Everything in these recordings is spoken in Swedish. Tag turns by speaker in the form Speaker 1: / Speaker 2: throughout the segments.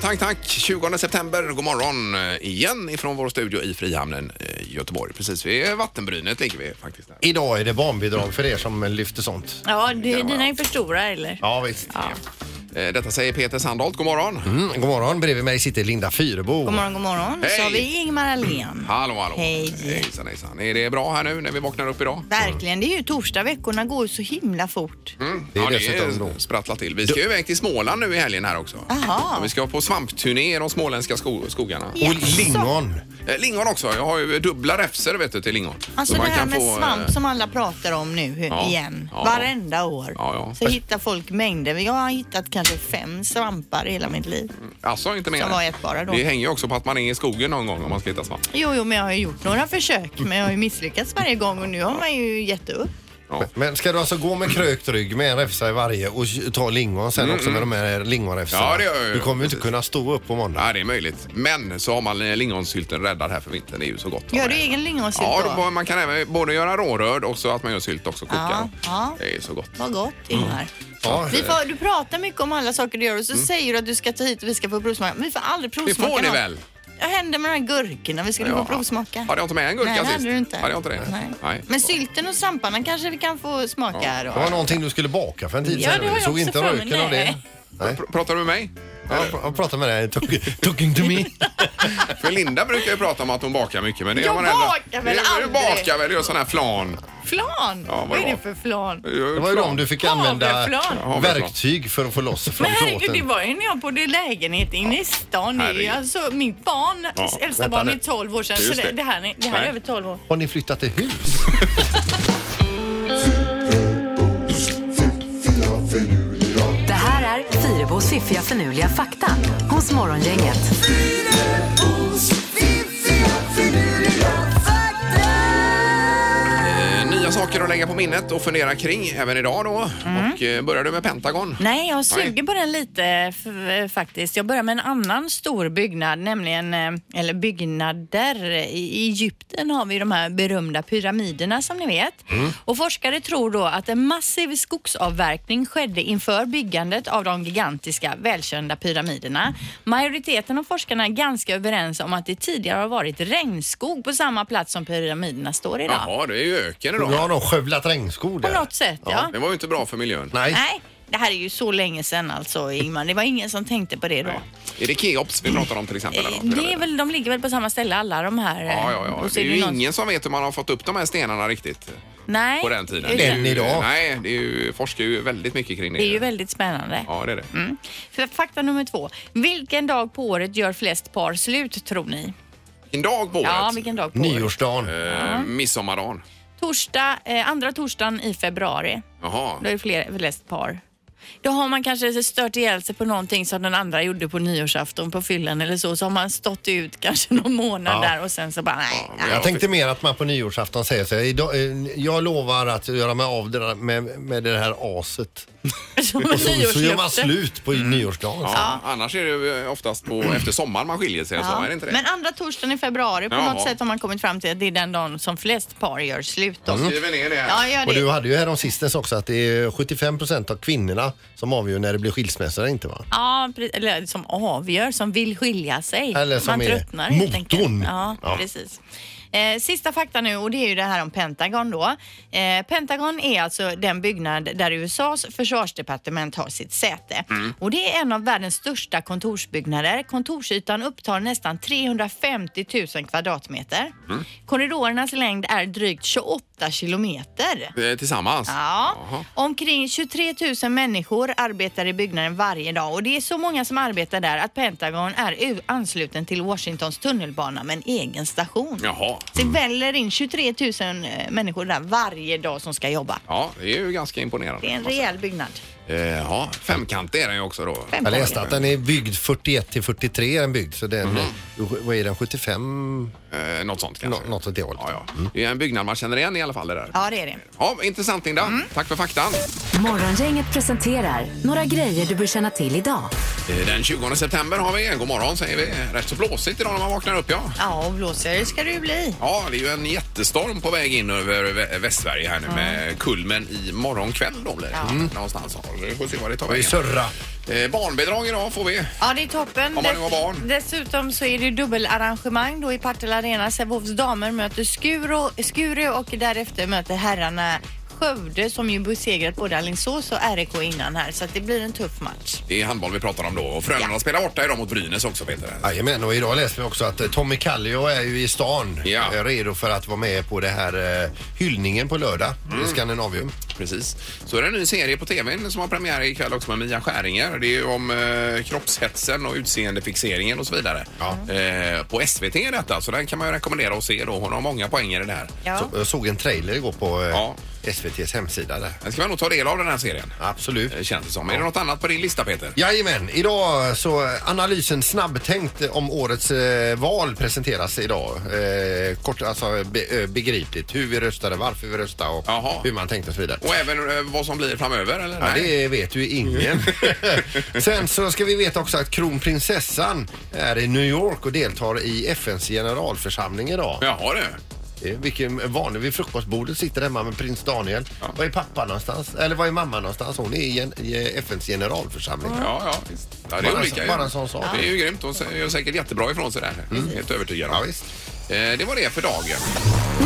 Speaker 1: tack, tack. 20 september, god morgon eh, igen ifrån vår studio i Frihamnen eh, Göteborg. Precis vid vattenbrynet ligger vi faktiskt. Där.
Speaker 2: Idag är det barnbidrag för er som lyfter sånt.
Speaker 3: Ja, det, dina är för stora eller?
Speaker 2: Ja, visst.
Speaker 1: Eh, Detta säger Peter Sandholt, god morgon.
Speaker 2: Mm, god morgon, bredvid mig sitter Linda Fyrebo.
Speaker 3: God morgon, god morgon. Så
Speaker 1: Hej.
Speaker 3: har vi Ingmar Ahlén.
Speaker 1: Hallå, hallå.
Speaker 3: Hej.
Speaker 1: Hejsan, hejsan. Är det bra här nu när vi vaknar upp idag?
Speaker 3: Verkligen, det är ju torsdag. Veckorna går ju så himla fort.
Speaker 2: Det är
Speaker 1: ja,
Speaker 2: dessutom
Speaker 1: det
Speaker 2: då.
Speaker 1: är sprattlat till. Vi ska ju iväg till Småland nu i helgen här också.
Speaker 3: Aha.
Speaker 1: Ja, Vi ska på svampturné i de småländska sko- skogarna.
Speaker 2: Och
Speaker 3: Jaså.
Speaker 2: lingon.
Speaker 1: Eh, Lingon också. Jag har ju dubbla räfser vet du till lingon.
Speaker 3: Alltså
Speaker 1: Så
Speaker 3: det
Speaker 1: man
Speaker 3: här
Speaker 1: kan
Speaker 3: med
Speaker 1: få, eh,
Speaker 3: svamp som alla pratar om nu
Speaker 1: Ja,
Speaker 3: igen.
Speaker 1: ja.
Speaker 3: Varenda år.
Speaker 1: Ja, ja.
Speaker 3: Så hittar folk mängder. Jag har hittat kanske fem svampar i hela mitt liv.
Speaker 1: Alltså inte mer.
Speaker 3: Som var ätbara då.
Speaker 1: Det hänger ju också på att man är i skogen någon gång om man ska hitta svamp.
Speaker 3: Jo, jo, men jag har ju gjort några försök men jag har ju misslyckats varje gång och nu har man ju gett upp.
Speaker 2: Men ska du alltså gå med krökt rygg med en räfsa i varje och ta lingon
Speaker 3: Mm,
Speaker 2: sen också med de här lingonräfsarna?
Speaker 1: Ja, det gör jag ju.
Speaker 2: Du kommer ju inte kunna stå upp på måndag.
Speaker 1: Ja, det är möjligt. Men så har man eh, lingonsylten räddad här för vintern. Det är ju så gott.
Speaker 3: Gör du egen lingonsylt
Speaker 1: Ja,
Speaker 3: då?
Speaker 1: då, man kan även både göra rårörd och så att man gör sylt också. Kokar.
Speaker 3: Ja, ja.
Speaker 1: Det är så gott.
Speaker 3: Vad gott,
Speaker 1: Mm.
Speaker 3: Ingmar.
Speaker 2: Ja.
Speaker 3: Vi får, du pratar mycket om alla saker du gör och så säger du att du ska ta hit och vi ska få provsmaka. Men vi får aldrig
Speaker 1: Mm. Det
Speaker 3: provsmaka
Speaker 1: får ni
Speaker 3: något.
Speaker 1: väl?
Speaker 3: Vad hände med de här gurkorna? Vi skulle få provsmaka.
Speaker 1: Hade jag inte med en gurka
Speaker 3: Nej, det
Speaker 1: sist?
Speaker 3: hade du inte.
Speaker 1: Hade jag inte det?
Speaker 3: Nej.
Speaker 1: Nej.
Speaker 3: Men sylten och svamparna kanske vi kan få smaka då.
Speaker 2: Det var någonting du skulle baka för en tid
Speaker 3: Ja,
Speaker 2: sedan.
Speaker 3: det har
Speaker 2: Vi
Speaker 3: jag
Speaker 2: såg
Speaker 3: också
Speaker 2: inte
Speaker 3: för mig.
Speaker 2: röken av det.
Speaker 3: Nej.
Speaker 2: Nej.
Speaker 1: Pr- Pratar du med mig?
Speaker 2: Ja, pr- Jag pratade med dig. Talk- Talking to me.
Speaker 1: För Linda brukar ju prata om att hon bakar mycket. Men det
Speaker 3: Jag
Speaker 1: gör man
Speaker 3: bakar väl
Speaker 1: Du- Du
Speaker 3: aldrig.
Speaker 1: bakar väl? Gör sån här flan.
Speaker 3: Flan!
Speaker 1: Ja, vad
Speaker 3: vad är
Speaker 1: bra.
Speaker 3: det för flan?
Speaker 2: Det var ju de du fick använda
Speaker 3: Havreflan.
Speaker 2: verktyg för att få loss från
Speaker 3: Men herregud, det
Speaker 2: plåten.
Speaker 3: var ju när jag bodde i lägenhet inne i stan. Det är ju
Speaker 1: Herregud.
Speaker 3: alltså mitt barn,
Speaker 1: Ja.
Speaker 3: äldsta
Speaker 2: Vänta
Speaker 3: barn
Speaker 2: nu.
Speaker 3: är 12 år sedan.
Speaker 1: Just
Speaker 3: Så det,
Speaker 1: det.
Speaker 3: det här, är- det här
Speaker 1: Nej.
Speaker 3: är över 12 år.
Speaker 2: Har ni flyttat till hus?
Speaker 4: Det här är Fyrabos fiffiga förnuliga fakta hos Morgongänget.
Speaker 1: Eh, Nya saker att lägga på minnet och fundera kring även idag då. Och eh, börjar du med Pentagon?
Speaker 3: Mm. Nej, jag
Speaker 1: Nej.
Speaker 3: suger på den lite f- f- faktiskt. Jag börjar med en annan stor byggnad, nämligen, eh, eller byggnader. I- I Egypten har vi de här berömda pyramiderna som ni vet. Och forskare tror då att en massiv skogsavverkning skedde inför byggandet av de gigantiska välkända pyramiderna. Majoriteten av forskarna är ganska överens om att det tidigare har varit regnskog på samma plats som pyramiderna står idag.
Speaker 1: Jaha, det är ju öken
Speaker 2: Nu
Speaker 1: idag.
Speaker 2: har de skövlat regnskog
Speaker 3: På
Speaker 2: där.
Speaker 3: något sätt, ja.
Speaker 1: Det var ju inte bra för miljön.
Speaker 2: Nej.
Speaker 3: Nej, det här är ju så länge sedan alltså Ingmar. Det var ingen som tänkte på det då.
Speaker 1: Är det Keops vi pratar om till exempel? eller
Speaker 3: Eh,
Speaker 1: något?
Speaker 3: Det är väl, de ligger väl på samma ställe alla de här? eh,
Speaker 1: Ja, ja, ja.
Speaker 3: och så
Speaker 1: Det är ju
Speaker 3: någon-
Speaker 1: ingen som vet hur man har fått upp de här stenarna riktigt
Speaker 3: Nej,
Speaker 1: på den tiden.
Speaker 3: det är-
Speaker 2: Än idag.
Speaker 1: Nej, det är ju, forskar ju väldigt mycket kring det.
Speaker 3: Det är ju väldigt spännande.
Speaker 1: Ja, det är det.
Speaker 3: Mm. För fakta nummer två. Vilken dag på året gör flest par slut tror ni?
Speaker 1: En dag på året.
Speaker 3: Ja, vilken dag på året?
Speaker 2: Nyårsdagen.
Speaker 1: Eh, midsommardagen.
Speaker 3: Torsdag, eh, andra torsdagen i februari.
Speaker 1: Jaha.
Speaker 3: Då är det fler, flest par. Då har man kanske stört ihjäl sig på någonting som den andra gjorde på nyårsafton på fyllan eller så. Så har man stått ut kanske någon månad
Speaker 2: Ja.
Speaker 3: där och sen så bara nej. nej.
Speaker 2: Jag tänkte mer att man på nyårsafton säger så här, "Idag, eh, jag lovar att göra mig av det där med, med det här aset.
Speaker 3: Som en
Speaker 2: Och så, så gör man
Speaker 3: nyårslöfte.
Speaker 2: slut på nyårsdagen.
Speaker 1: Ja, Annars är det ju eh, oftast på, efter sommaren man skiljer sig. Så, är det inte det?
Speaker 3: Mm. Men andra torsdagen i februari på
Speaker 1: Jaha.
Speaker 3: något sätt har man kommit fram till att det är den dagen som flest par gör slut. Då.
Speaker 1: Skriver ner det här.
Speaker 3: Ja, gör
Speaker 2: Mm. Och du
Speaker 3: det.
Speaker 2: hade ju häromsistens också att det är 75 procent av kvinnorna som avgör när det blir skilsmässa eller inte va?
Speaker 3: Ja, pre- eller som avgör, som vill skilja sig.
Speaker 2: Eller som
Speaker 3: man
Speaker 2: är
Speaker 3: tröttnar helt enkelt.
Speaker 2: motorn.
Speaker 3: Ja,
Speaker 2: Ja.
Speaker 3: precis. Eh, sista fakta nu och det är ju det här om Pentagon då. Eh, Pentagon är alltså den byggnad där USAs försvarsdepartement har sitt säte.
Speaker 2: Mm.
Speaker 3: Och det är en av världens största kontorsbyggnader. Kontorsytan upptar nästan 350 000 kvadratmeter.
Speaker 2: Mm.
Speaker 3: Korridorernas längd är drygt 28 kilometer.
Speaker 1: Eh, Tillsammans?
Speaker 3: Ja.
Speaker 1: Jaha.
Speaker 3: Omkring 23 000 människor arbetar i byggnaden varje dag och det är så många som arbetar där att Pentagon är u- ansluten till Washingtons tunnelbana med en egen station.
Speaker 1: Jaha.
Speaker 3: Så det väller in 23 000 eh, människor där varje dag som ska jobba.
Speaker 1: Ja, det är ju ganska imponerande.
Speaker 3: Det är en rejäl byggnad.
Speaker 1: Eh, ja, femkantig är den ju också då.
Speaker 3: Fem
Speaker 2: Jag läste
Speaker 3: gånger.
Speaker 2: att den är byggd 41 till 43 är den byggd så den, vad är den, 75?
Speaker 1: Eh, något sånt kanske.
Speaker 2: Nå- något åt det hållet.
Speaker 1: Ja, ja. Det är en byggnad man känner igen i alla fall det där.
Speaker 3: Ja, det är det.
Speaker 1: Ja, intressant Linda. Tack för faktan.
Speaker 4: Morgongänget presenterar några grejer du bör känna till idag.
Speaker 1: Eh, Den 20 september har vi. God morgon säger vi. Rätt så blåsigt idag när man vaknar upp ja.
Speaker 3: Ja, och blåsare ska det ju bli.
Speaker 1: Ja, det är ju en jättestorm på väg in över Vä- Västsverige här nu med kulmen i morgon kväll då blir det. Någonstans. Mm, Ja, vi får se vad det tar
Speaker 2: I
Speaker 1: vägen.
Speaker 2: Sörra.
Speaker 1: Eh, barnbidrag idag får vi.
Speaker 3: Ja, det är toppen.
Speaker 1: Om man nu har barn.
Speaker 3: Dessutom så är det dubbelarrangemang då i Partille Arena. Sävehofs damer möter Skuro, Skuru och därefter möter herrarna Skövde som ju besegrat både Alingsås och RIK innan här så att det blir en tuff match.
Speaker 1: Det är handboll vi pratar om då. Och Frölunda spelar borta idag mot Brynäs också Peter.
Speaker 2: Jajamän, och idag läser vi också att eh, Tommy Kallio är ju i stan.
Speaker 1: Ja.
Speaker 2: eh, Redo för att vara med på det här eh, hyllningen på lördag i
Speaker 1: Mm.
Speaker 2: Skandinavium.
Speaker 1: Precis. Så är det en ny serie på tvn som har premiär ikväll också med Mia Skäringer. Det är ju om eh, kroppshetsen och utseendefixeringen och så vidare. Eh, på SVT är detta, så den kan man ju rekommendera att se då. Hon har många poänger i det här.
Speaker 3: Ja.
Speaker 2: Så, jag såg en trailer igår på eh,
Speaker 1: Ja.
Speaker 2: SVTs hemsida där.
Speaker 1: Den ska man nog ta del av den här serien.
Speaker 2: Absolut.
Speaker 1: eh, Känns det som. Är det något annat på din lista Peter?
Speaker 2: Jajamän, idag så eh, analysen snabbtänkt om årets eh, val presenteras idag. Eh, kort, alltså be, ö, begripligt hur vi röstade, varför vi röstade och
Speaker 1: Jaha.
Speaker 2: hur man tänkte och så vidare.
Speaker 1: Och även eh, vad som blir framöver eller?
Speaker 2: Ja,
Speaker 1: Nej.
Speaker 2: det vet ju ingen. Sen så ska vi veta också att kronprinsessan är i New York och deltar i FNs generalförsamling idag.
Speaker 1: Jaha du.
Speaker 2: Eh, Vilken vanlig vid frukostbordet sitter hemma med prins Daniel.
Speaker 1: Ja.
Speaker 2: Var är pappa någonstans? Eller var är mamma någonstans? Hon är i, gen- i FNs generalförsamling.
Speaker 1: Ja, ja, visst. ja, det är
Speaker 2: Bara en
Speaker 1: olika.
Speaker 2: sån-
Speaker 1: ju.
Speaker 2: bara en sån sak. Mm.
Speaker 1: Det är ju grymt. Hon gör säkert jättebra ifrån sig där. Helt övertygad om.
Speaker 2: Ja, visst.
Speaker 1: Eh, Det var det för dagen.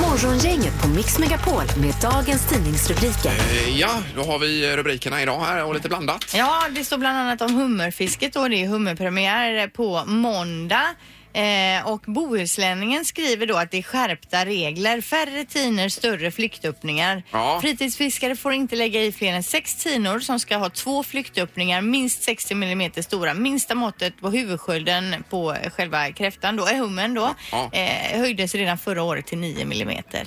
Speaker 4: Morgongänget på Mix Megapol med dagens tidningsrubriker.
Speaker 1: Eh, Ja, då har vi rubrikerna idag här och lite blandat.
Speaker 3: Ja, det står bland annat om hummerfisket och det är hummerpremiär på måndag. Eh, och Bohuslänningen skriver då att det är skärpta regler, färre tinor, större flyktöppningar.
Speaker 1: Ja.
Speaker 3: Fritidsfiskare får inte lägga i fler än sex tinor som ska ha två flyktöppningar, minst 60 mm stora. Minsta måttet på huvudskölden på själva kräftan då, eh, hummen då,
Speaker 1: Ja.
Speaker 3: eh, höjdes redan förra året till 9 mm.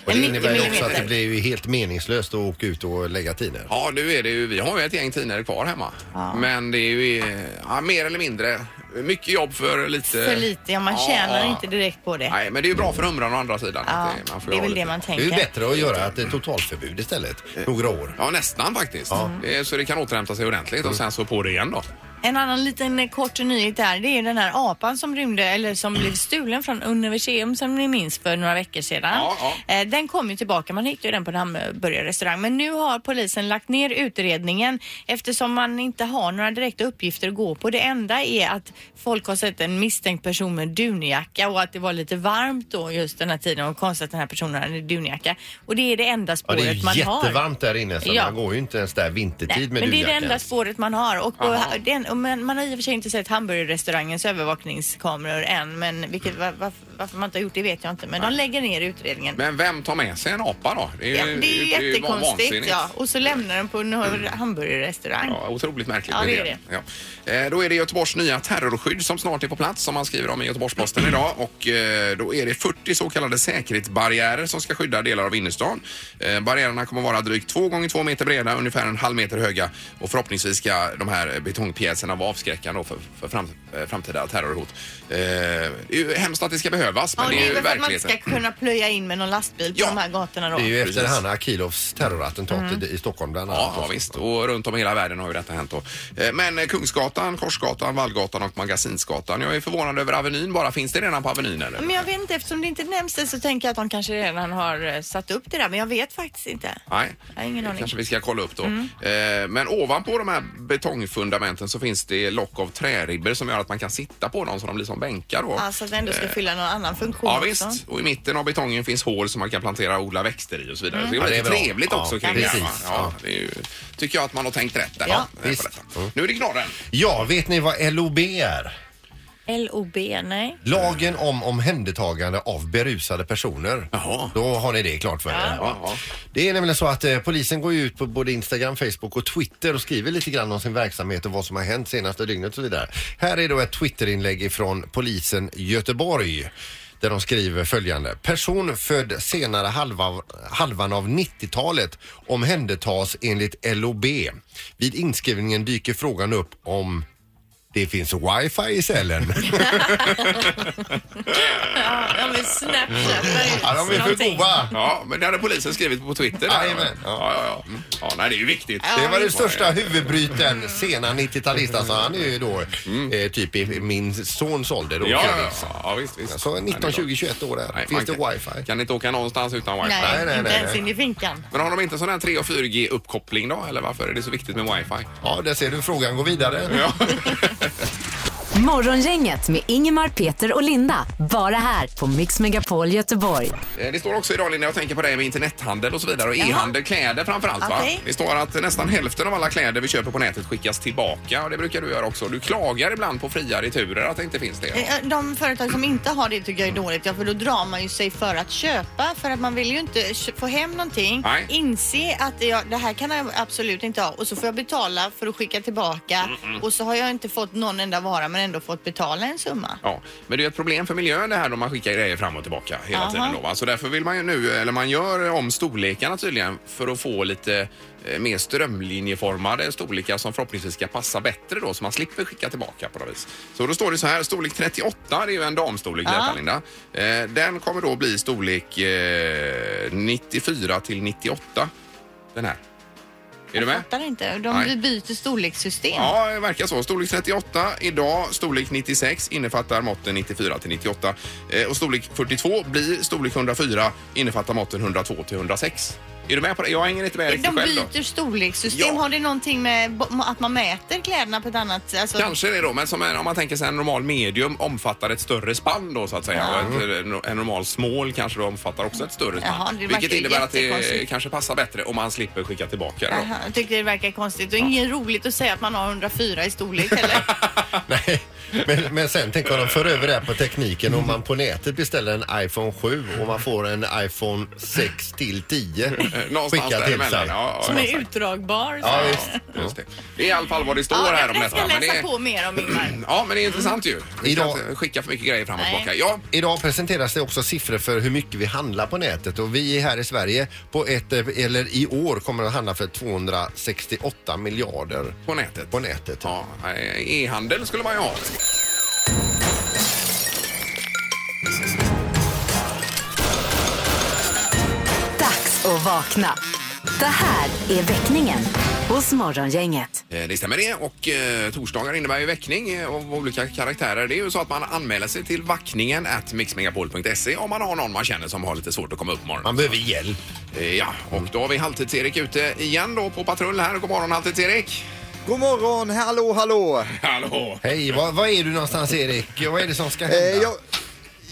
Speaker 2: Och det innebär ju också att det blir ju helt meningslöst att åka ut och lägga tiner.
Speaker 1: Ja, nu är det ju, vi har ju ett gäng tinor kvar hemma. Men det är ju eh, ja, mer eller mindre mycket jobb för lite.
Speaker 2: eh,
Speaker 3: För lite, ja man tjänar inte direkt på det.
Speaker 1: Nej, men det är ju bra för humran å andra sidan.
Speaker 3: Ja,
Speaker 1: Att, eh, man får
Speaker 3: det är
Speaker 1: ha
Speaker 3: väl
Speaker 1: lite.
Speaker 3: det man
Speaker 2: Det är
Speaker 3: tänker.
Speaker 2: ju bättre att göra ett totalförbud istället, några år.
Speaker 1: Ja, nästan faktiskt. Eh, Så det kan återhämta sig ordentligt
Speaker 3: Mm.
Speaker 1: och sen så på det igen då.
Speaker 3: En annan liten eh, kort nyhet där, det är den här apan som rymde, eller som blev stulen från Universium som ni minns för några veckor sedan.
Speaker 1: Ja,
Speaker 3: Eh, Den kom ju tillbaka, man hittade ju den på en hamburgerrestaurang. Men nu har polisen lagt ner utredningen eftersom man inte har några direkta uppgifter att gå på. Det enda är att folk har sett en misstänkt person med dunjacka och att det var lite varmt då just den här tiden och konstigt att den här personen hade dunjacka. Och det är det enda
Speaker 2: Ja,
Speaker 3: spåret
Speaker 2: det är ju
Speaker 3: man har.
Speaker 2: jättevarmt där inne så
Speaker 3: Ja.
Speaker 2: man går ju inte ens där
Speaker 3: Nej,
Speaker 2: vintertid med
Speaker 3: men det är det
Speaker 2: dunjackan.
Speaker 3: enda spåret man har. Och på,
Speaker 1: Jaha.
Speaker 3: den, och men man har i och för sig inte sett hamburgerrestaurangens övervakningskameror än, men vilket, var, varför, varför man inte har gjort det vet jag inte. Men de lägger ner utredningen.
Speaker 1: Men vem tar med sig en apa då?
Speaker 3: ja, det är ju
Speaker 1: ju
Speaker 3: jättekonstigt.
Speaker 1: vansinnigt. Mm.
Speaker 3: Ja. Och så lämnar de på en hamburgerrestaurang.
Speaker 1: Ja, otroligt märkligt.
Speaker 3: Ja, det
Speaker 1: med
Speaker 3: är
Speaker 1: Ja. Eh, Då är det Göteborgs nya terrorskydd som snart är på plats som man skriver om i Göteborgs-Posten idag. Och eh, då är det 40 så kallade säkerhetsbarriärer som ska skydda delar av innerstan. Eh, Barriärerna kommer vara drygt 2 gånger 2 meter breda, ungefär en halv meter höga och förhoppningsvis ska de här betongpjäserna vara avskräckande då för, för fram, eh, framtida terrorhot. Eh, Det är ju hemskt att det ska behövas, men
Speaker 3: Ja,
Speaker 1: det är ju
Speaker 3: väl för att man
Speaker 1: verkligheten.
Speaker 3: inte ska kunna plöja in med någon lastbil på
Speaker 1: Ja.
Speaker 3: de här gatorna då.
Speaker 2: Det är ju efter
Speaker 1: Precis.
Speaker 2: Hanna Akilovs terrorattentat i- i Stockholm bland annat.
Speaker 1: Ja, ja, visst. Och runt om i hela världen har ju detta hänt då. Eh, Men eh, Kungsgatan, Korsgatan, Vallgatan och Magasinsgatan. Jag är förvånad över Avenyn bara. Finns det redan på Avenyn eller?
Speaker 3: Men jag vet inte, eftersom det inte nämns det så tänker jag att de kanske redan har eh, satt upp det där, men jag vet faktiskt inte.
Speaker 1: Nej,
Speaker 3: Jag har ingen
Speaker 1: Det
Speaker 3: aning. Mm.
Speaker 1: kanske vi ska kolla upp då. Eh, Men ovanpå de här betongfundamenten så finns det lock av träribbor som gör att man kan sitta på dem så de blir som bänkar då.
Speaker 3: Alltså att det ändå ska fylla någon annan funktion
Speaker 1: Eh, Ja
Speaker 3: också.
Speaker 1: visst, och i mitten av betongen finns hål som man kan plantera och odla växter i och så vidare.
Speaker 3: Mm.
Speaker 1: Så
Speaker 2: Ja,
Speaker 1: det
Speaker 2: det
Speaker 1: är
Speaker 2: är
Speaker 1: väldigt
Speaker 2: bra.
Speaker 1: trevligt
Speaker 2: Ja,
Speaker 1: också kring det. här,
Speaker 2: precis.
Speaker 1: va? Ja, det är ju, tycker jag att man har tänkt rätt där.
Speaker 3: Ja,
Speaker 1: eh, på
Speaker 2: visst. Mm.
Speaker 1: detta. Nu är det knorren.
Speaker 2: Ja, vet ni vad LOB är?
Speaker 3: LOB, nej.
Speaker 2: Lagen om omhändertagande av berusade personer.
Speaker 1: Jaha.
Speaker 2: Då har ni det klart för er.
Speaker 1: Ja, ja.
Speaker 2: Det är nämligen så att eh, polisen går ju ut på både Instagram, Facebook och Twitter och skriver lite grann om sin verksamhet och vad som har hänt senaste dygnet och så vidare. Här är då ett Twitterinlägg ifrån polisen Göteborg där de skriver följande. Person född senare halva, halvan av 90-talet omhändertas enligt LOB. Vid inskrivningen dyker frågan upp om Det finns wifi i cellen.
Speaker 5: Ja, ja men Snapchat
Speaker 2: ja, de är för goa.
Speaker 1: Ja, men det hade polisen skrivit på Twitter. där.
Speaker 2: Jajamän.
Speaker 1: Ja, ja, ja. Mm. ja, nej, det är ju viktigt.
Speaker 2: Det var den största huvudbryten sena 90-talist. Alltså, han är ju då eh, typ i min sons ålder. Då,
Speaker 1: Mm. Ja, ja,
Speaker 2: Kevin.
Speaker 1: ja. ja visst, visst.
Speaker 2: Så 19, 20, 21 år där.
Speaker 1: Nej,
Speaker 2: finns det
Speaker 1: man kan-
Speaker 2: wifi?
Speaker 1: Kan inte åka någonstans utan wifi.
Speaker 5: Nej,
Speaker 2: nej, nej,
Speaker 5: inte
Speaker 2: nej.
Speaker 5: ens in i finkan.
Speaker 1: Men har de inte sån här 3 och 4G-uppkoppling då? Eller varför är det så viktigt med wifi?
Speaker 2: Ja, där ser du frågan går vidare.
Speaker 1: Ja.
Speaker 4: Morgongänget med Ingemar, Peter och Linda. Bara här på Mix Megapol Göteborg.
Speaker 1: Eh, Det står också idag Linda, jag tänker på det med internethandel och så vidare och e-handel, kläder framförallt va?
Speaker 5: Okej.
Speaker 1: Det står att nästan hälften av alla kläder vi köper på nätet skickas tillbaka och det brukar du göra också. Du klagar ibland på fria returer att det inte finns det.
Speaker 3: Eh, De företag som inte har det tycker jag är dåligt, ja, för då drar man ju sig för att köpa för att man vill ju inte kö- få hem någonting,
Speaker 1: Nej.
Speaker 3: inse att jag, det här kan jag absolut inte ha och så får jag betala för att skicka tillbaka
Speaker 1: Mm,
Speaker 3: och så har jag inte fått någon enda vara men ändå fått betala en summa.
Speaker 1: Ja, men det är ett problem för miljön det här då man skickar grejer fram och tillbaka hela
Speaker 3: Jaha.
Speaker 1: tiden då va? Så därför vill man ju nu, eller man gör om storlekarna tydligen för att få lite eh, mer strömlinjeformade storlekar som förhoppningsvis ska passa bättre då så man slipper skicka tillbaka på något vis. Så då står det så här, storlek 38, det är ju en damstorlek detta Linda. Eh, den kommer då bli storlek eh, 94 till 98. Den här. Är du med?
Speaker 3: Fattar inte. De
Speaker 1: Nej.
Speaker 3: byter storlekssystem.
Speaker 1: Ja, det verkar så. Storlek 38 idag, storlek 96 innefattar måtten 94 till 98 eh, och storlek 42 blir storlek 104 innefattar måtten 102 till 106. Är du med på det? Jag hänger inte med riktigt
Speaker 3: De
Speaker 1: själv då.
Speaker 3: byter storlekssystem.
Speaker 1: Ja.
Speaker 3: Har det någonting med bo- att man mäter kläderna på ett annat sätt? Alltså,
Speaker 1: Kanske det då, men som en, om man tänker sig en normal medium omfattar ett större spann då så att säga. Och ett, eh, en normal small kanske då omfattar också ett större spann.
Speaker 3: Jaha, det verkar
Speaker 1: vilket
Speaker 3: ju
Speaker 1: innebär att det
Speaker 3: jättekonstigt.
Speaker 1: kanske passar bättre om man slipper skicka tillbaka det. då.
Speaker 3: Jaha, jag tycker det verkar konstigt och inget roligt att säga att man har 104 i storlek heller.
Speaker 2: Nej. Men, men sen tänk om de för över det här på tekniken. Om man på nätet beställer en iPhone 7 och man får en iPhone 6 till 10
Speaker 1: Eh, Någonstans däremellan. Ja, ja,
Speaker 5: Som
Speaker 1: exakt.
Speaker 5: är utdragbar.
Speaker 2: Ja, visst.
Speaker 1: Just det. det är i alla fall vad det står
Speaker 3: Ja,
Speaker 1: här om
Speaker 3: jag
Speaker 1: detta.
Speaker 3: ska
Speaker 1: men det
Speaker 3: läsa
Speaker 1: är-
Speaker 3: på mer om Ingmar.
Speaker 1: Ja, men det är intressant ju. Vi kan
Speaker 2: Idag-
Speaker 1: inte skicka för mycket grejer fram och
Speaker 3: Nej.
Speaker 1: tillbaka. Ja,
Speaker 2: Idag presenteras det också siffror för hur mycket vi handlar på nätet och vi här i Sverige på ett, eh, eller i år kommer att handla för 268 miljarder
Speaker 1: på nätet.
Speaker 2: på nätet.
Speaker 1: Ja, nej, eh, e-handel skulle man ju ha.
Speaker 4: Dags att vakna. Det här är väckningen hos Morgongänget.
Speaker 1: Eh, Det stämmer det. Och eh, torsdagar innebär ju väckning eh, av olika karaktärer. Det är ju så att man anmäler sig till vackningen at mixmegapol.se om man har någon man känner som har lite svårt att komma upp på morgonen.
Speaker 2: Man behöver hjälp.
Speaker 1: Eh, Ja, och då har vi Halvtids-Erik ute igen då på patrull här. God morgon Halvtids-Erik!
Speaker 6: God morgon, hallå, hallå! Eh,
Speaker 1: Hallå!
Speaker 2: Hej, var, var är du någonstans Erik? Vad är det som ska
Speaker 6: Eh,
Speaker 2: hända?
Speaker 6: jag,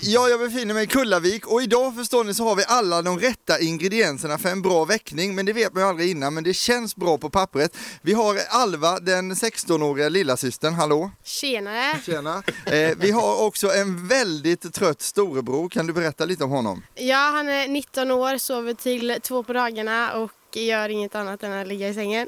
Speaker 6: ja, jag befinner mig i Kullavik och idag förstår ni så har vi alla de rätta ingredienserna för en bra väckning, men det vet man ju aldrig innan, men det känns bra på pappret. Vi har Alva, den 16-åriga lillasystern, hallå?
Speaker 7: Tjenare!
Speaker 6: Tjena! Eh, vi har också en väldigt trött storebror, kan du berätta lite om honom?
Speaker 7: Ja, han är 19 år, sover till två på dagarna och gör inget annat än att ligga i sängen.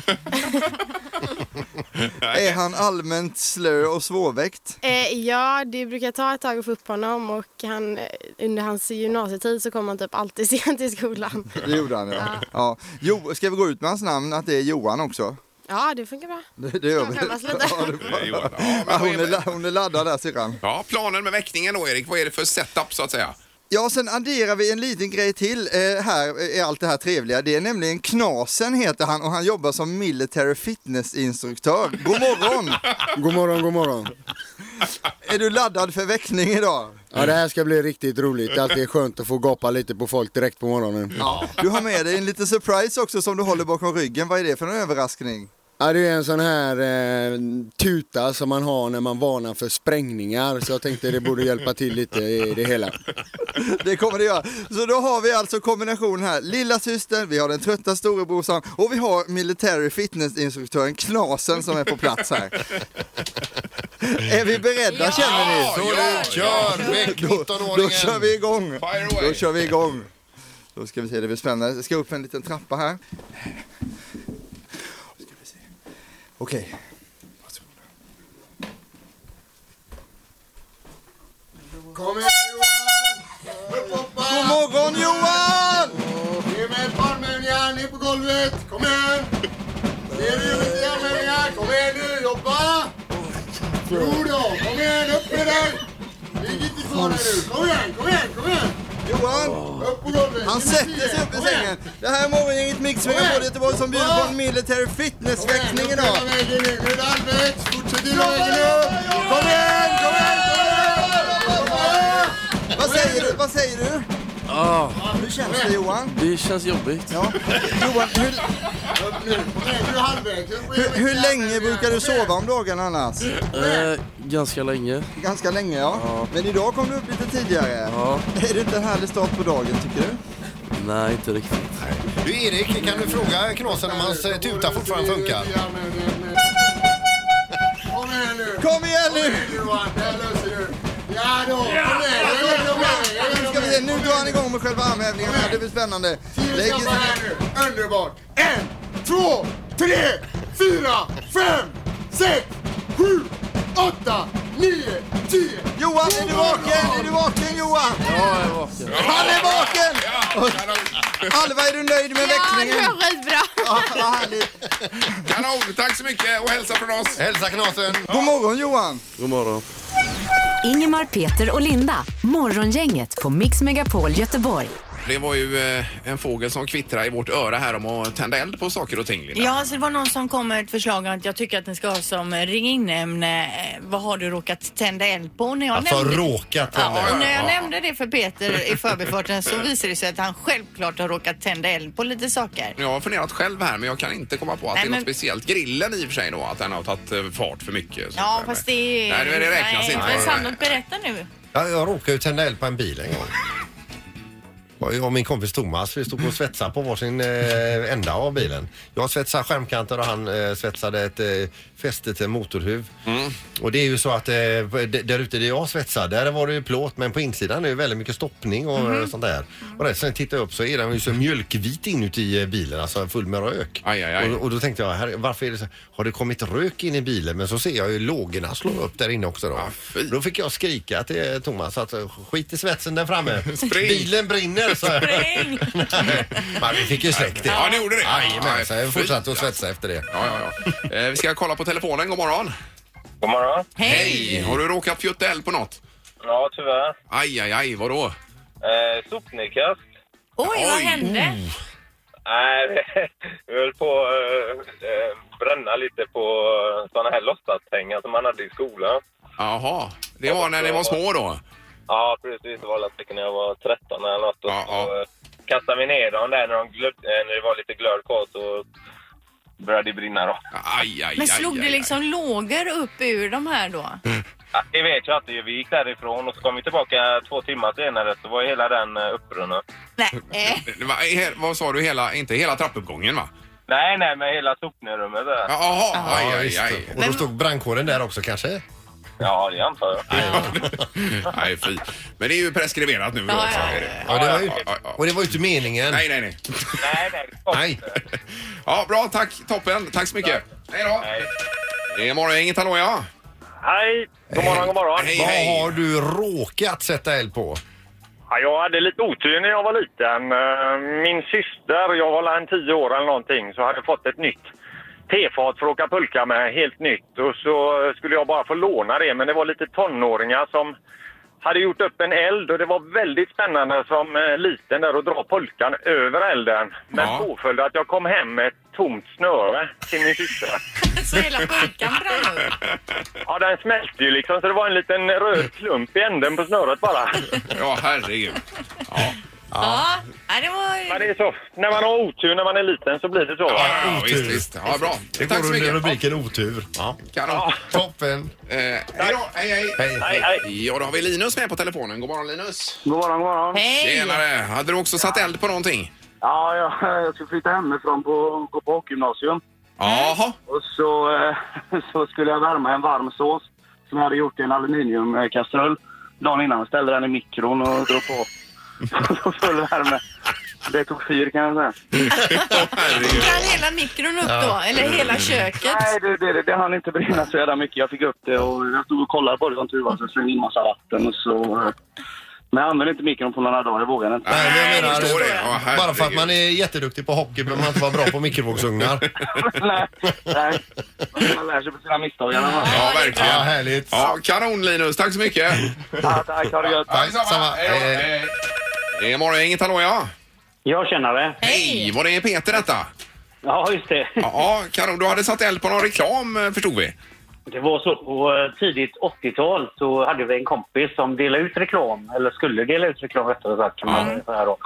Speaker 6: Är han allmänt slö och svårväckt?
Speaker 7: Eh, ja, det brukar ta ett tag att få upp honom och han, eh, under hans gymnasietid så kommer han typ alltid sent till skolan.
Speaker 6: Det gjorde han ja. ja. Jo, ska vi gå ut med hans namn, att det är Johan också?
Speaker 7: Ja, det funkar bra.
Speaker 6: Det, det gör
Speaker 7: Jag
Speaker 6: vi.
Speaker 7: skämmas lite.
Speaker 6: Ja, det-
Speaker 1: Eh, Johan. Ja, men
Speaker 6: Ja, hon, är,
Speaker 1: vad
Speaker 6: la-
Speaker 1: är,
Speaker 6: hon är laddad där syrran.
Speaker 1: ja, planen med väckningen då Erik, vad är det för setup så att säga?
Speaker 6: Ja, sen adderar vi en liten grej till eh, här eh, i allt det här trevliga. Det är nämligen Knasen heter han och han jobbar som military fitnessinstruktör. God morgon!
Speaker 8: God morgon, god morgon.
Speaker 6: är du laddad för väckning idag?
Speaker 8: Ja, det här ska bli riktigt roligt. Det är alltid skönt att få gapa lite på folk direkt på morgonen. Ja.
Speaker 6: Du har med dig en liten surprise också som du håller bakom ryggen. Vad är det för en överraskning?
Speaker 8: det är en sån här eh, tuta som man har när man varnar för sprängningar. Så jag tänkte det borde hjälpa till lite i det hela.
Speaker 6: Det kommer det göra. Så då har vi alltså kombination här. Lilla systern, vi har den trötta storebrorsan och vi har military fitnessinstruktören Knasen som är på plats här. är vi beredda känner ni?
Speaker 1: Ja, ja,
Speaker 2: Kör! Väck
Speaker 6: Då kör
Speaker 2: 19-åringen!
Speaker 6: vi igång!
Speaker 1: Fire away.
Speaker 6: Då kör vi igång! Då ska vi se, det blir spännande. Jag ska upp en liten trappa här. Då ska vi se. Okej.
Speaker 8: Kom igen Johan! Upp och hoppa!
Speaker 6: God morgon Johan!
Speaker 8: Ge mig ett par meningar, ner på golvet! Kom igen! Ser du hur mycket jag menar? Kom igen nu, jobba!
Speaker 9: Jodå, kom igen, upp med den! Ligg inte kvar där nu. Kom igen, kom igen, kom igen!
Speaker 6: Johan!
Speaker 9: Upp på golvet.
Speaker 6: Han sätter sig upp i sängen. Det här är morgongänget Mix Megapol Göteborg som bjuder på en military fitness-växling idag.
Speaker 9: Nu är det allmänt. Fortsätt hela vägen upp. Kom igen, kom igen, kom igen!
Speaker 6: Vad säger du? Vad säger du? Hur känns det Johan?
Speaker 10: Det känns jobbigt.
Speaker 6: Ja. Johan, hur,
Speaker 9: Upp nu. Kom igen, nu är halvvägs.
Speaker 6: hur, hur länge brukar du sova om dagen annars?
Speaker 10: Eh, ganska länge.
Speaker 6: Ganska länge ja. Men idag kom du upp lite tidigare.
Speaker 10: Ja.
Speaker 6: Är det inte en härlig start på dagen tycker du?
Speaker 10: Nej, inte riktigt.
Speaker 2: Du Erik, kan du fråga Knasen om hans eh, tuta fortfarande funkar?
Speaker 9: Kom igen nu.
Speaker 6: Kom igen nu!
Speaker 9: Johan, det här löser du. Ja då, kom igen. Jag är med, jag är
Speaker 6: Nu
Speaker 9: med,
Speaker 6: ska
Speaker 9: jag
Speaker 6: vi
Speaker 9: är
Speaker 6: se,
Speaker 9: med.
Speaker 6: nu drar han igång med själva armhävningen här. Det blir spännande. Lägg...
Speaker 9: Lägg här nu. Underbart. En, två, tre, fyra, fem, sex, sju, åtta, nio, tio.
Speaker 6: Johan, är du vaken? Är du vaken Johan?
Speaker 10: Ja, jag är vaken.
Speaker 6: Han är vaken!
Speaker 1: Ja, kanon.
Speaker 6: Alva, är du nöjd med växlingen?
Speaker 11: det var skitbra.
Speaker 6: Ja, vad härligt.
Speaker 1: Kanon, tack så mycket och hälsa från oss.
Speaker 2: Hälsa Knasen!
Speaker 6: God morgon Johan!
Speaker 10: God morgon.
Speaker 4: Ingemar, Peter och Linda. Morgongänget på Mix Megapol Göteborg.
Speaker 1: Det var ju eh, en fågel som kvittrade i vårt öra här om att tända eld på saker och ting. Linda.
Speaker 3: Ja, så det var någon som kom med ett förslag att jag tycker att ni ska ha som eh, ring-in-ämne. eh, Vad har du råkat tända eld på? När jag
Speaker 2: Alltså
Speaker 3: nämnde-
Speaker 2: råkat
Speaker 3: Ja, och
Speaker 2: henne.
Speaker 3: när jag nämnde det för Peter i förbifarten så visade det sig att han självklart har råkat tända eld på lite saker.
Speaker 1: Jag har funderat själv här men jag kan inte komma på att
Speaker 3: Nej,
Speaker 1: det är något
Speaker 3: men-
Speaker 1: speciellt. Grillen i och för sig då, att den har tagit eh, fart för mycket. Så
Speaker 3: Ja,
Speaker 1: så-
Speaker 3: fast det...
Speaker 1: Nej, det det räknas
Speaker 3: nej,
Speaker 1: inte.
Speaker 3: Men
Speaker 1: Nej,
Speaker 3: Sandholt, berätta nu.
Speaker 2: Jag, jag råkade ju tända eld på en bil en gång. Och Jag och min kompis Thomas, vi stod och svetsade på varsin eh, ända av bilen. Jag svetsade skärmkanten och han eh, svetsade ett eh, fäste till en motorhuv.
Speaker 1: Mm.
Speaker 2: Och det är ju så att eh, d- där ute där jag svetsar, där var det ju plåt men på insidan är ju väldigt mycket stoppning och
Speaker 1: Mhm.
Speaker 2: eh, sånt där. Och resten tittar jag upp så är den ju så mjölkvit inuti eh, bilen, alltså full med rök.
Speaker 1: Aj, aj, aj.
Speaker 2: Och, och då tänkte jag, herre, varför är det så? Har det kommit rök in i bilen? Men så ser jag ju lågorna slå upp där inne också då.
Speaker 1: Ah, fy.
Speaker 2: Då fick jag skrika till Thomas att eh, skit i svetsen där framme.
Speaker 1: Spring.
Speaker 2: Bilen brinner så.
Speaker 3: Spring!
Speaker 2: Men vi fick ju släckt det.
Speaker 1: Ja, ni gjorde det?
Speaker 2: Jajamän, så
Speaker 1: Ja,
Speaker 2: jag
Speaker 1: fy.
Speaker 2: fortsatte att svetsa efter det.
Speaker 1: Ja, ja, ja. Eh, Vi ska kolla på telefonen. God morgon.
Speaker 8: God morgon.
Speaker 1: Hej! Har du råkat fjutta eld på något?
Speaker 8: Ja, tyvärr.
Speaker 1: Aj, aj, aj, vadå?
Speaker 8: Eh, sopnedkast.
Speaker 3: Oj, vad
Speaker 1: Oj.
Speaker 3: hände?
Speaker 8: Nej, vi höll på att eh, eh, bränna lite på eh, såna här låtsaspengar som man hade i skolan.
Speaker 1: Jaha, det var när ni var små då?
Speaker 8: Ja, precis. Det var alla stycken när jag var 13 eller något. Och
Speaker 1: Ja,
Speaker 8: så
Speaker 1: ja.
Speaker 8: eh, kastade vi ner dem där när, de glöd, eh, när det var lite glöd kvar så började det brinna då.
Speaker 1: Aj, aj, aj.
Speaker 3: Men slog
Speaker 1: aj,
Speaker 3: det
Speaker 1: aj.
Speaker 3: liksom lågor upp ur de här då?
Speaker 8: Ja, Det vet jag inte. Vi gick därifrån och så kom vi tillbaka två timmar senare så var ju hela den eh, uppbrunnen.
Speaker 3: Nej. eh,
Speaker 1: Det var, he- vad sa du, hela, inte hela trappuppgången va?
Speaker 8: Nej, nej, men hela sopnedrummet där. Ja,
Speaker 1: Jaha, aj,
Speaker 2: Ja,
Speaker 1: aj,
Speaker 2: visst.
Speaker 1: aj.
Speaker 2: Och då stod brandkåren där också kanske?
Speaker 8: det antar jag.
Speaker 1: Nej, fy. Men det är ju preskriberat nu. Då,
Speaker 3: Ja,
Speaker 1: så
Speaker 3: ja,
Speaker 1: är det.
Speaker 2: Ja, det var ju,
Speaker 1: ja, ja.
Speaker 2: och det var ju inte meningen.
Speaker 1: Nej, nej, nej.
Speaker 8: Nej, nej. det var-
Speaker 2: Nej.
Speaker 1: Ja, bra, tack. Toppen. Tack så mycket. Hej då.
Speaker 8: Nej.
Speaker 1: Det är morgongänget, hallå ja.
Speaker 8: Hej! God morgon, god morgon.
Speaker 1: Hej,
Speaker 2: Vad
Speaker 1: hej.
Speaker 2: har du råkat sätta eld på?
Speaker 8: Ja, jag hade lite otur när jag var liten. Eh, Min syster, jag var väl en tio år eller någonting, så hade jag fått ett nytt tefat för att åka pulka med, helt nytt. Och så skulle jag bara få låna det, men det var lite tonåringar som hade gjort upp en eld och det var väldigt spännande som eh, liten där att dra pulkan över elden. Men
Speaker 1: Ja.
Speaker 8: påföljde att jag kom hem med ett tomt snöre till min syster.
Speaker 3: Så hela pulkan brann upp?
Speaker 8: Ja, den smälte ju liksom så det var en liten röd klump i änden på snöret bara.
Speaker 1: Ja, herregud. Ja,
Speaker 3: Ja. Nej, det var...
Speaker 8: Men det är så. När man har otur när man är liten så blir det så. va?
Speaker 1: ja, ja visst, visst. Ja, bra.
Speaker 2: Det
Speaker 1: Tack
Speaker 2: går
Speaker 1: så
Speaker 2: under
Speaker 1: mycket.
Speaker 2: rubriken otur. Ja.
Speaker 1: Kanon.
Speaker 2: Toppen.
Speaker 1: Eh, hej då, hej, hej.
Speaker 2: Hej.
Speaker 8: Nej, nej.
Speaker 1: Ja, då har vi Linus med på telefonen. God morgon Linus.
Speaker 12: God morgon, god morgon.
Speaker 3: Hej!
Speaker 1: Tjenare. Hade du också satt eld på någonting?
Speaker 12: Ja, jag, jag skulle flytta hemifrån på, gå på hockeygymnasium.
Speaker 1: Jaha.
Speaker 12: Och så, eh, så skulle jag värma en varm sås som jag hade gjort i en aluminiumkastrull. Dagen innan ställde den i mikron och drog på. Så full värme. Det tog fyr kan jag säga.
Speaker 1: Åh, herregud.
Speaker 3: Brann hela mikron upp då? Eller hela köket?
Speaker 12: Nej, det, det, det, det hann inte brinna så jävla mycket. Jag fick upp det och jag stod och kollade på det som tur var. Så jag slängde in massa vatten och så eh,
Speaker 8: Men jag använde inte mikron på några dagar, jag vågade inte.
Speaker 1: Nej,
Speaker 2: jag menar,
Speaker 1: förstår det. Ja, herregud.
Speaker 2: bara för att man är jätteduktig på hockey behöver man inte vara bra på mikrovågsugnar.
Speaker 8: Nej, man lär sig på sina misstag i alla fall.
Speaker 1: Ja, verkligen.
Speaker 2: Ja, härligt.
Speaker 1: Ja, kanon Linus, tack så mycket.
Speaker 8: Ja, tack, ha det gött.
Speaker 1: Ja, detsamma.
Speaker 2: Samma.
Speaker 1: Hej då.
Speaker 2: Eh.
Speaker 1: Hej. Det är morgon, inget hallå ja.
Speaker 8: Jag känner det.
Speaker 1: Hej, var det Peter detta?
Speaker 8: Ja, just det.
Speaker 1: Ja, kanon. Du hade satt eld på någon reklam eh, förstod vi.
Speaker 8: Det var så på eh, tidigt 80-tal så hade vi en kompis som delade ut reklam, eller skulle dela ut reklam rättare sagt kan man säga då.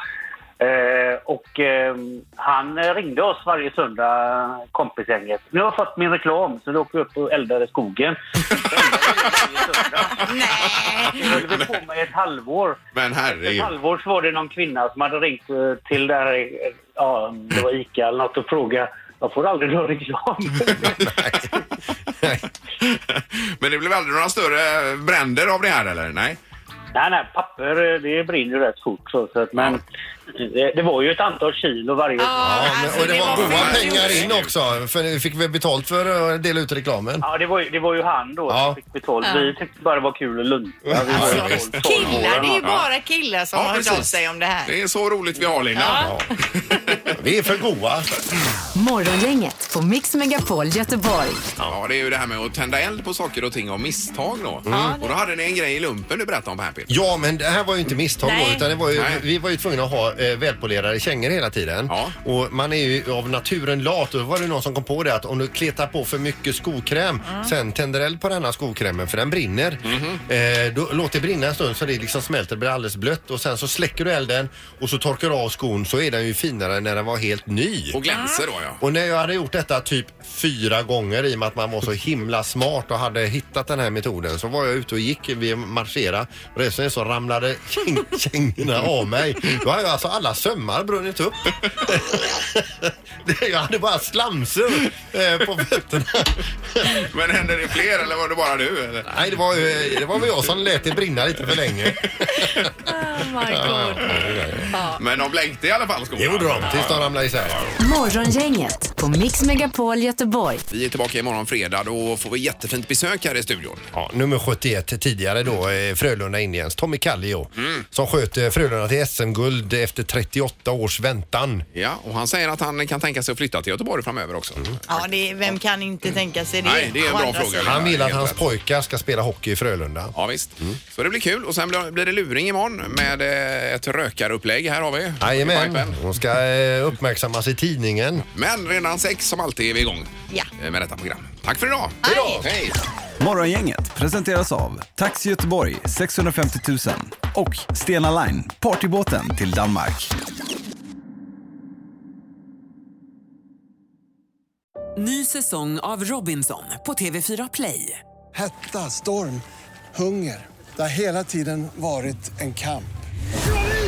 Speaker 8: Eh, och eh, han ringde oss varje söndag, kompisgänget. Nu har jag fått min reklam, så då åker vi upp och eldar i skogen. Det höll vi på med ett halvår.
Speaker 1: Men
Speaker 8: Ett
Speaker 1: herregud.
Speaker 8: halvår så var det någon kvinna som hade ringt eh, till där, eh, ja, det var ICA eller något och frågat jag får aldrig någon reklam.
Speaker 1: Men det blev aldrig några större bränder av det här eller? Nej.
Speaker 8: Nej, nej, papper eh, det brinner ju rätt fort. Så, så att, men det, det var ju ett antal kilo varje
Speaker 3: Ja,
Speaker 2: Ja, men,
Speaker 3: alltså,
Speaker 2: och det var goda
Speaker 3: fan
Speaker 2: pengar
Speaker 3: gjort.
Speaker 2: in också. För ni fick väl betalt för att dela ut reklamen?
Speaker 8: Ja, det var, ju- det var ju han då
Speaker 2: Ja.
Speaker 8: som fick betalt.
Speaker 3: Ja.
Speaker 8: Vi tyckte bara det var kul att lunta. Vi var ju
Speaker 3: alltså,
Speaker 2: Ja,
Speaker 8: tolv-
Speaker 2: visst.
Speaker 8: tolv år
Speaker 13: Killar, det är ju
Speaker 8: eller något.
Speaker 13: bara killar som
Speaker 1: Ja,
Speaker 13: har hört
Speaker 1: precis.
Speaker 13: av sig om det här.
Speaker 1: Det är så roligt vi har Linda.
Speaker 2: Ja. Vi är för goa.
Speaker 4: Morgongänget på Mix Megapol Göteborg.
Speaker 1: Ja, det är ju det här med att tända eld på saker och ting av misstag då. Och då hade ni en grej i lumpen du berättade om här Peter.
Speaker 2: Ja, men det här var ju inte misstag då,
Speaker 3: Nej.
Speaker 2: utan det var ju,
Speaker 1: Nej.
Speaker 2: vi var ju tvungna att ha eh, välpolerade kängor hela tiden.
Speaker 1: Ja.
Speaker 2: Och man är ju av naturen lat och då var det någon som kom på det att om du kletar på för mycket skokräm, sen tänder eld på den här skokrämen för den brinner.
Speaker 1: Mhm.
Speaker 2: Eh, då, låt det brinna en stund så det liksom smälter och blir alldeles blött och sen så släcker du elden och så torkar du av skon så är den ju finare än när den var helt ny.
Speaker 1: Och glänser då ja.
Speaker 2: Och när jag hade gjort detta typ fyra gånger i och med att man var så himla smart och hade hittat den här metoden så var jag ute och gick, vi marschera och resten så ramlade käng- kängorna av mig. Då hade jag alltså alla sömmar brunnit upp. Det- jag hade bara slamsor eh, på fötterna.
Speaker 1: Men hände det fler eller var det bara du? Eller?
Speaker 2: Nej, det var, eh, det var väl jag som lät det brinna lite för länge.
Speaker 3: Oh my god.
Speaker 1: Men de blänkte i alla fall skolan.
Speaker 2: Det gjorde de tills de ramlade isär.
Speaker 4: Morgongänget på Mix Megapol Göteborg.
Speaker 1: Vi är tillbaka imorgon fredag. Då får vi jättefint besök här i studion.
Speaker 2: Ja, nummer 71 tidigare då, eh, Frölunda Indians, Tommy Kallio som sköt eh, Frölunda till SM-guld efter 38 års väntan.
Speaker 1: Ja, och han säger att han kan tänka sig att flytta till Göteborg framöver också.
Speaker 13: Ja, det är, vem kan inte tänka sig det?
Speaker 1: Nej, det är en
Speaker 13: Å
Speaker 1: bra
Speaker 13: andra
Speaker 1: fråga.
Speaker 13: sidan.
Speaker 2: Han vill att
Speaker 1: Helt
Speaker 2: hans
Speaker 1: rätt.
Speaker 2: pojkar ska spela hockey i Frölunda.
Speaker 1: Ja, visst. Så det blir kul. Och sen blir blir det luring imorgon med eh, ett rökarupplägg. Här har vi. i
Speaker 2: Jajamän,
Speaker 1: pipen.
Speaker 2: de ska eh, uppmärksammas i tidningen.
Speaker 1: Men redan sex som alltid är vi igång
Speaker 13: Ja.
Speaker 1: eh, med detta program. Tack för idag! Hej då! Hej!
Speaker 14: Morgongänget presenteras av Taxi Göteborg 650 000 och Stena Line, partybåten till Danmark.
Speaker 15: Ny säsong av Robinson på TV4 Play.
Speaker 9: Hetta, storm, hunger. Det har hela tiden varit en kamp.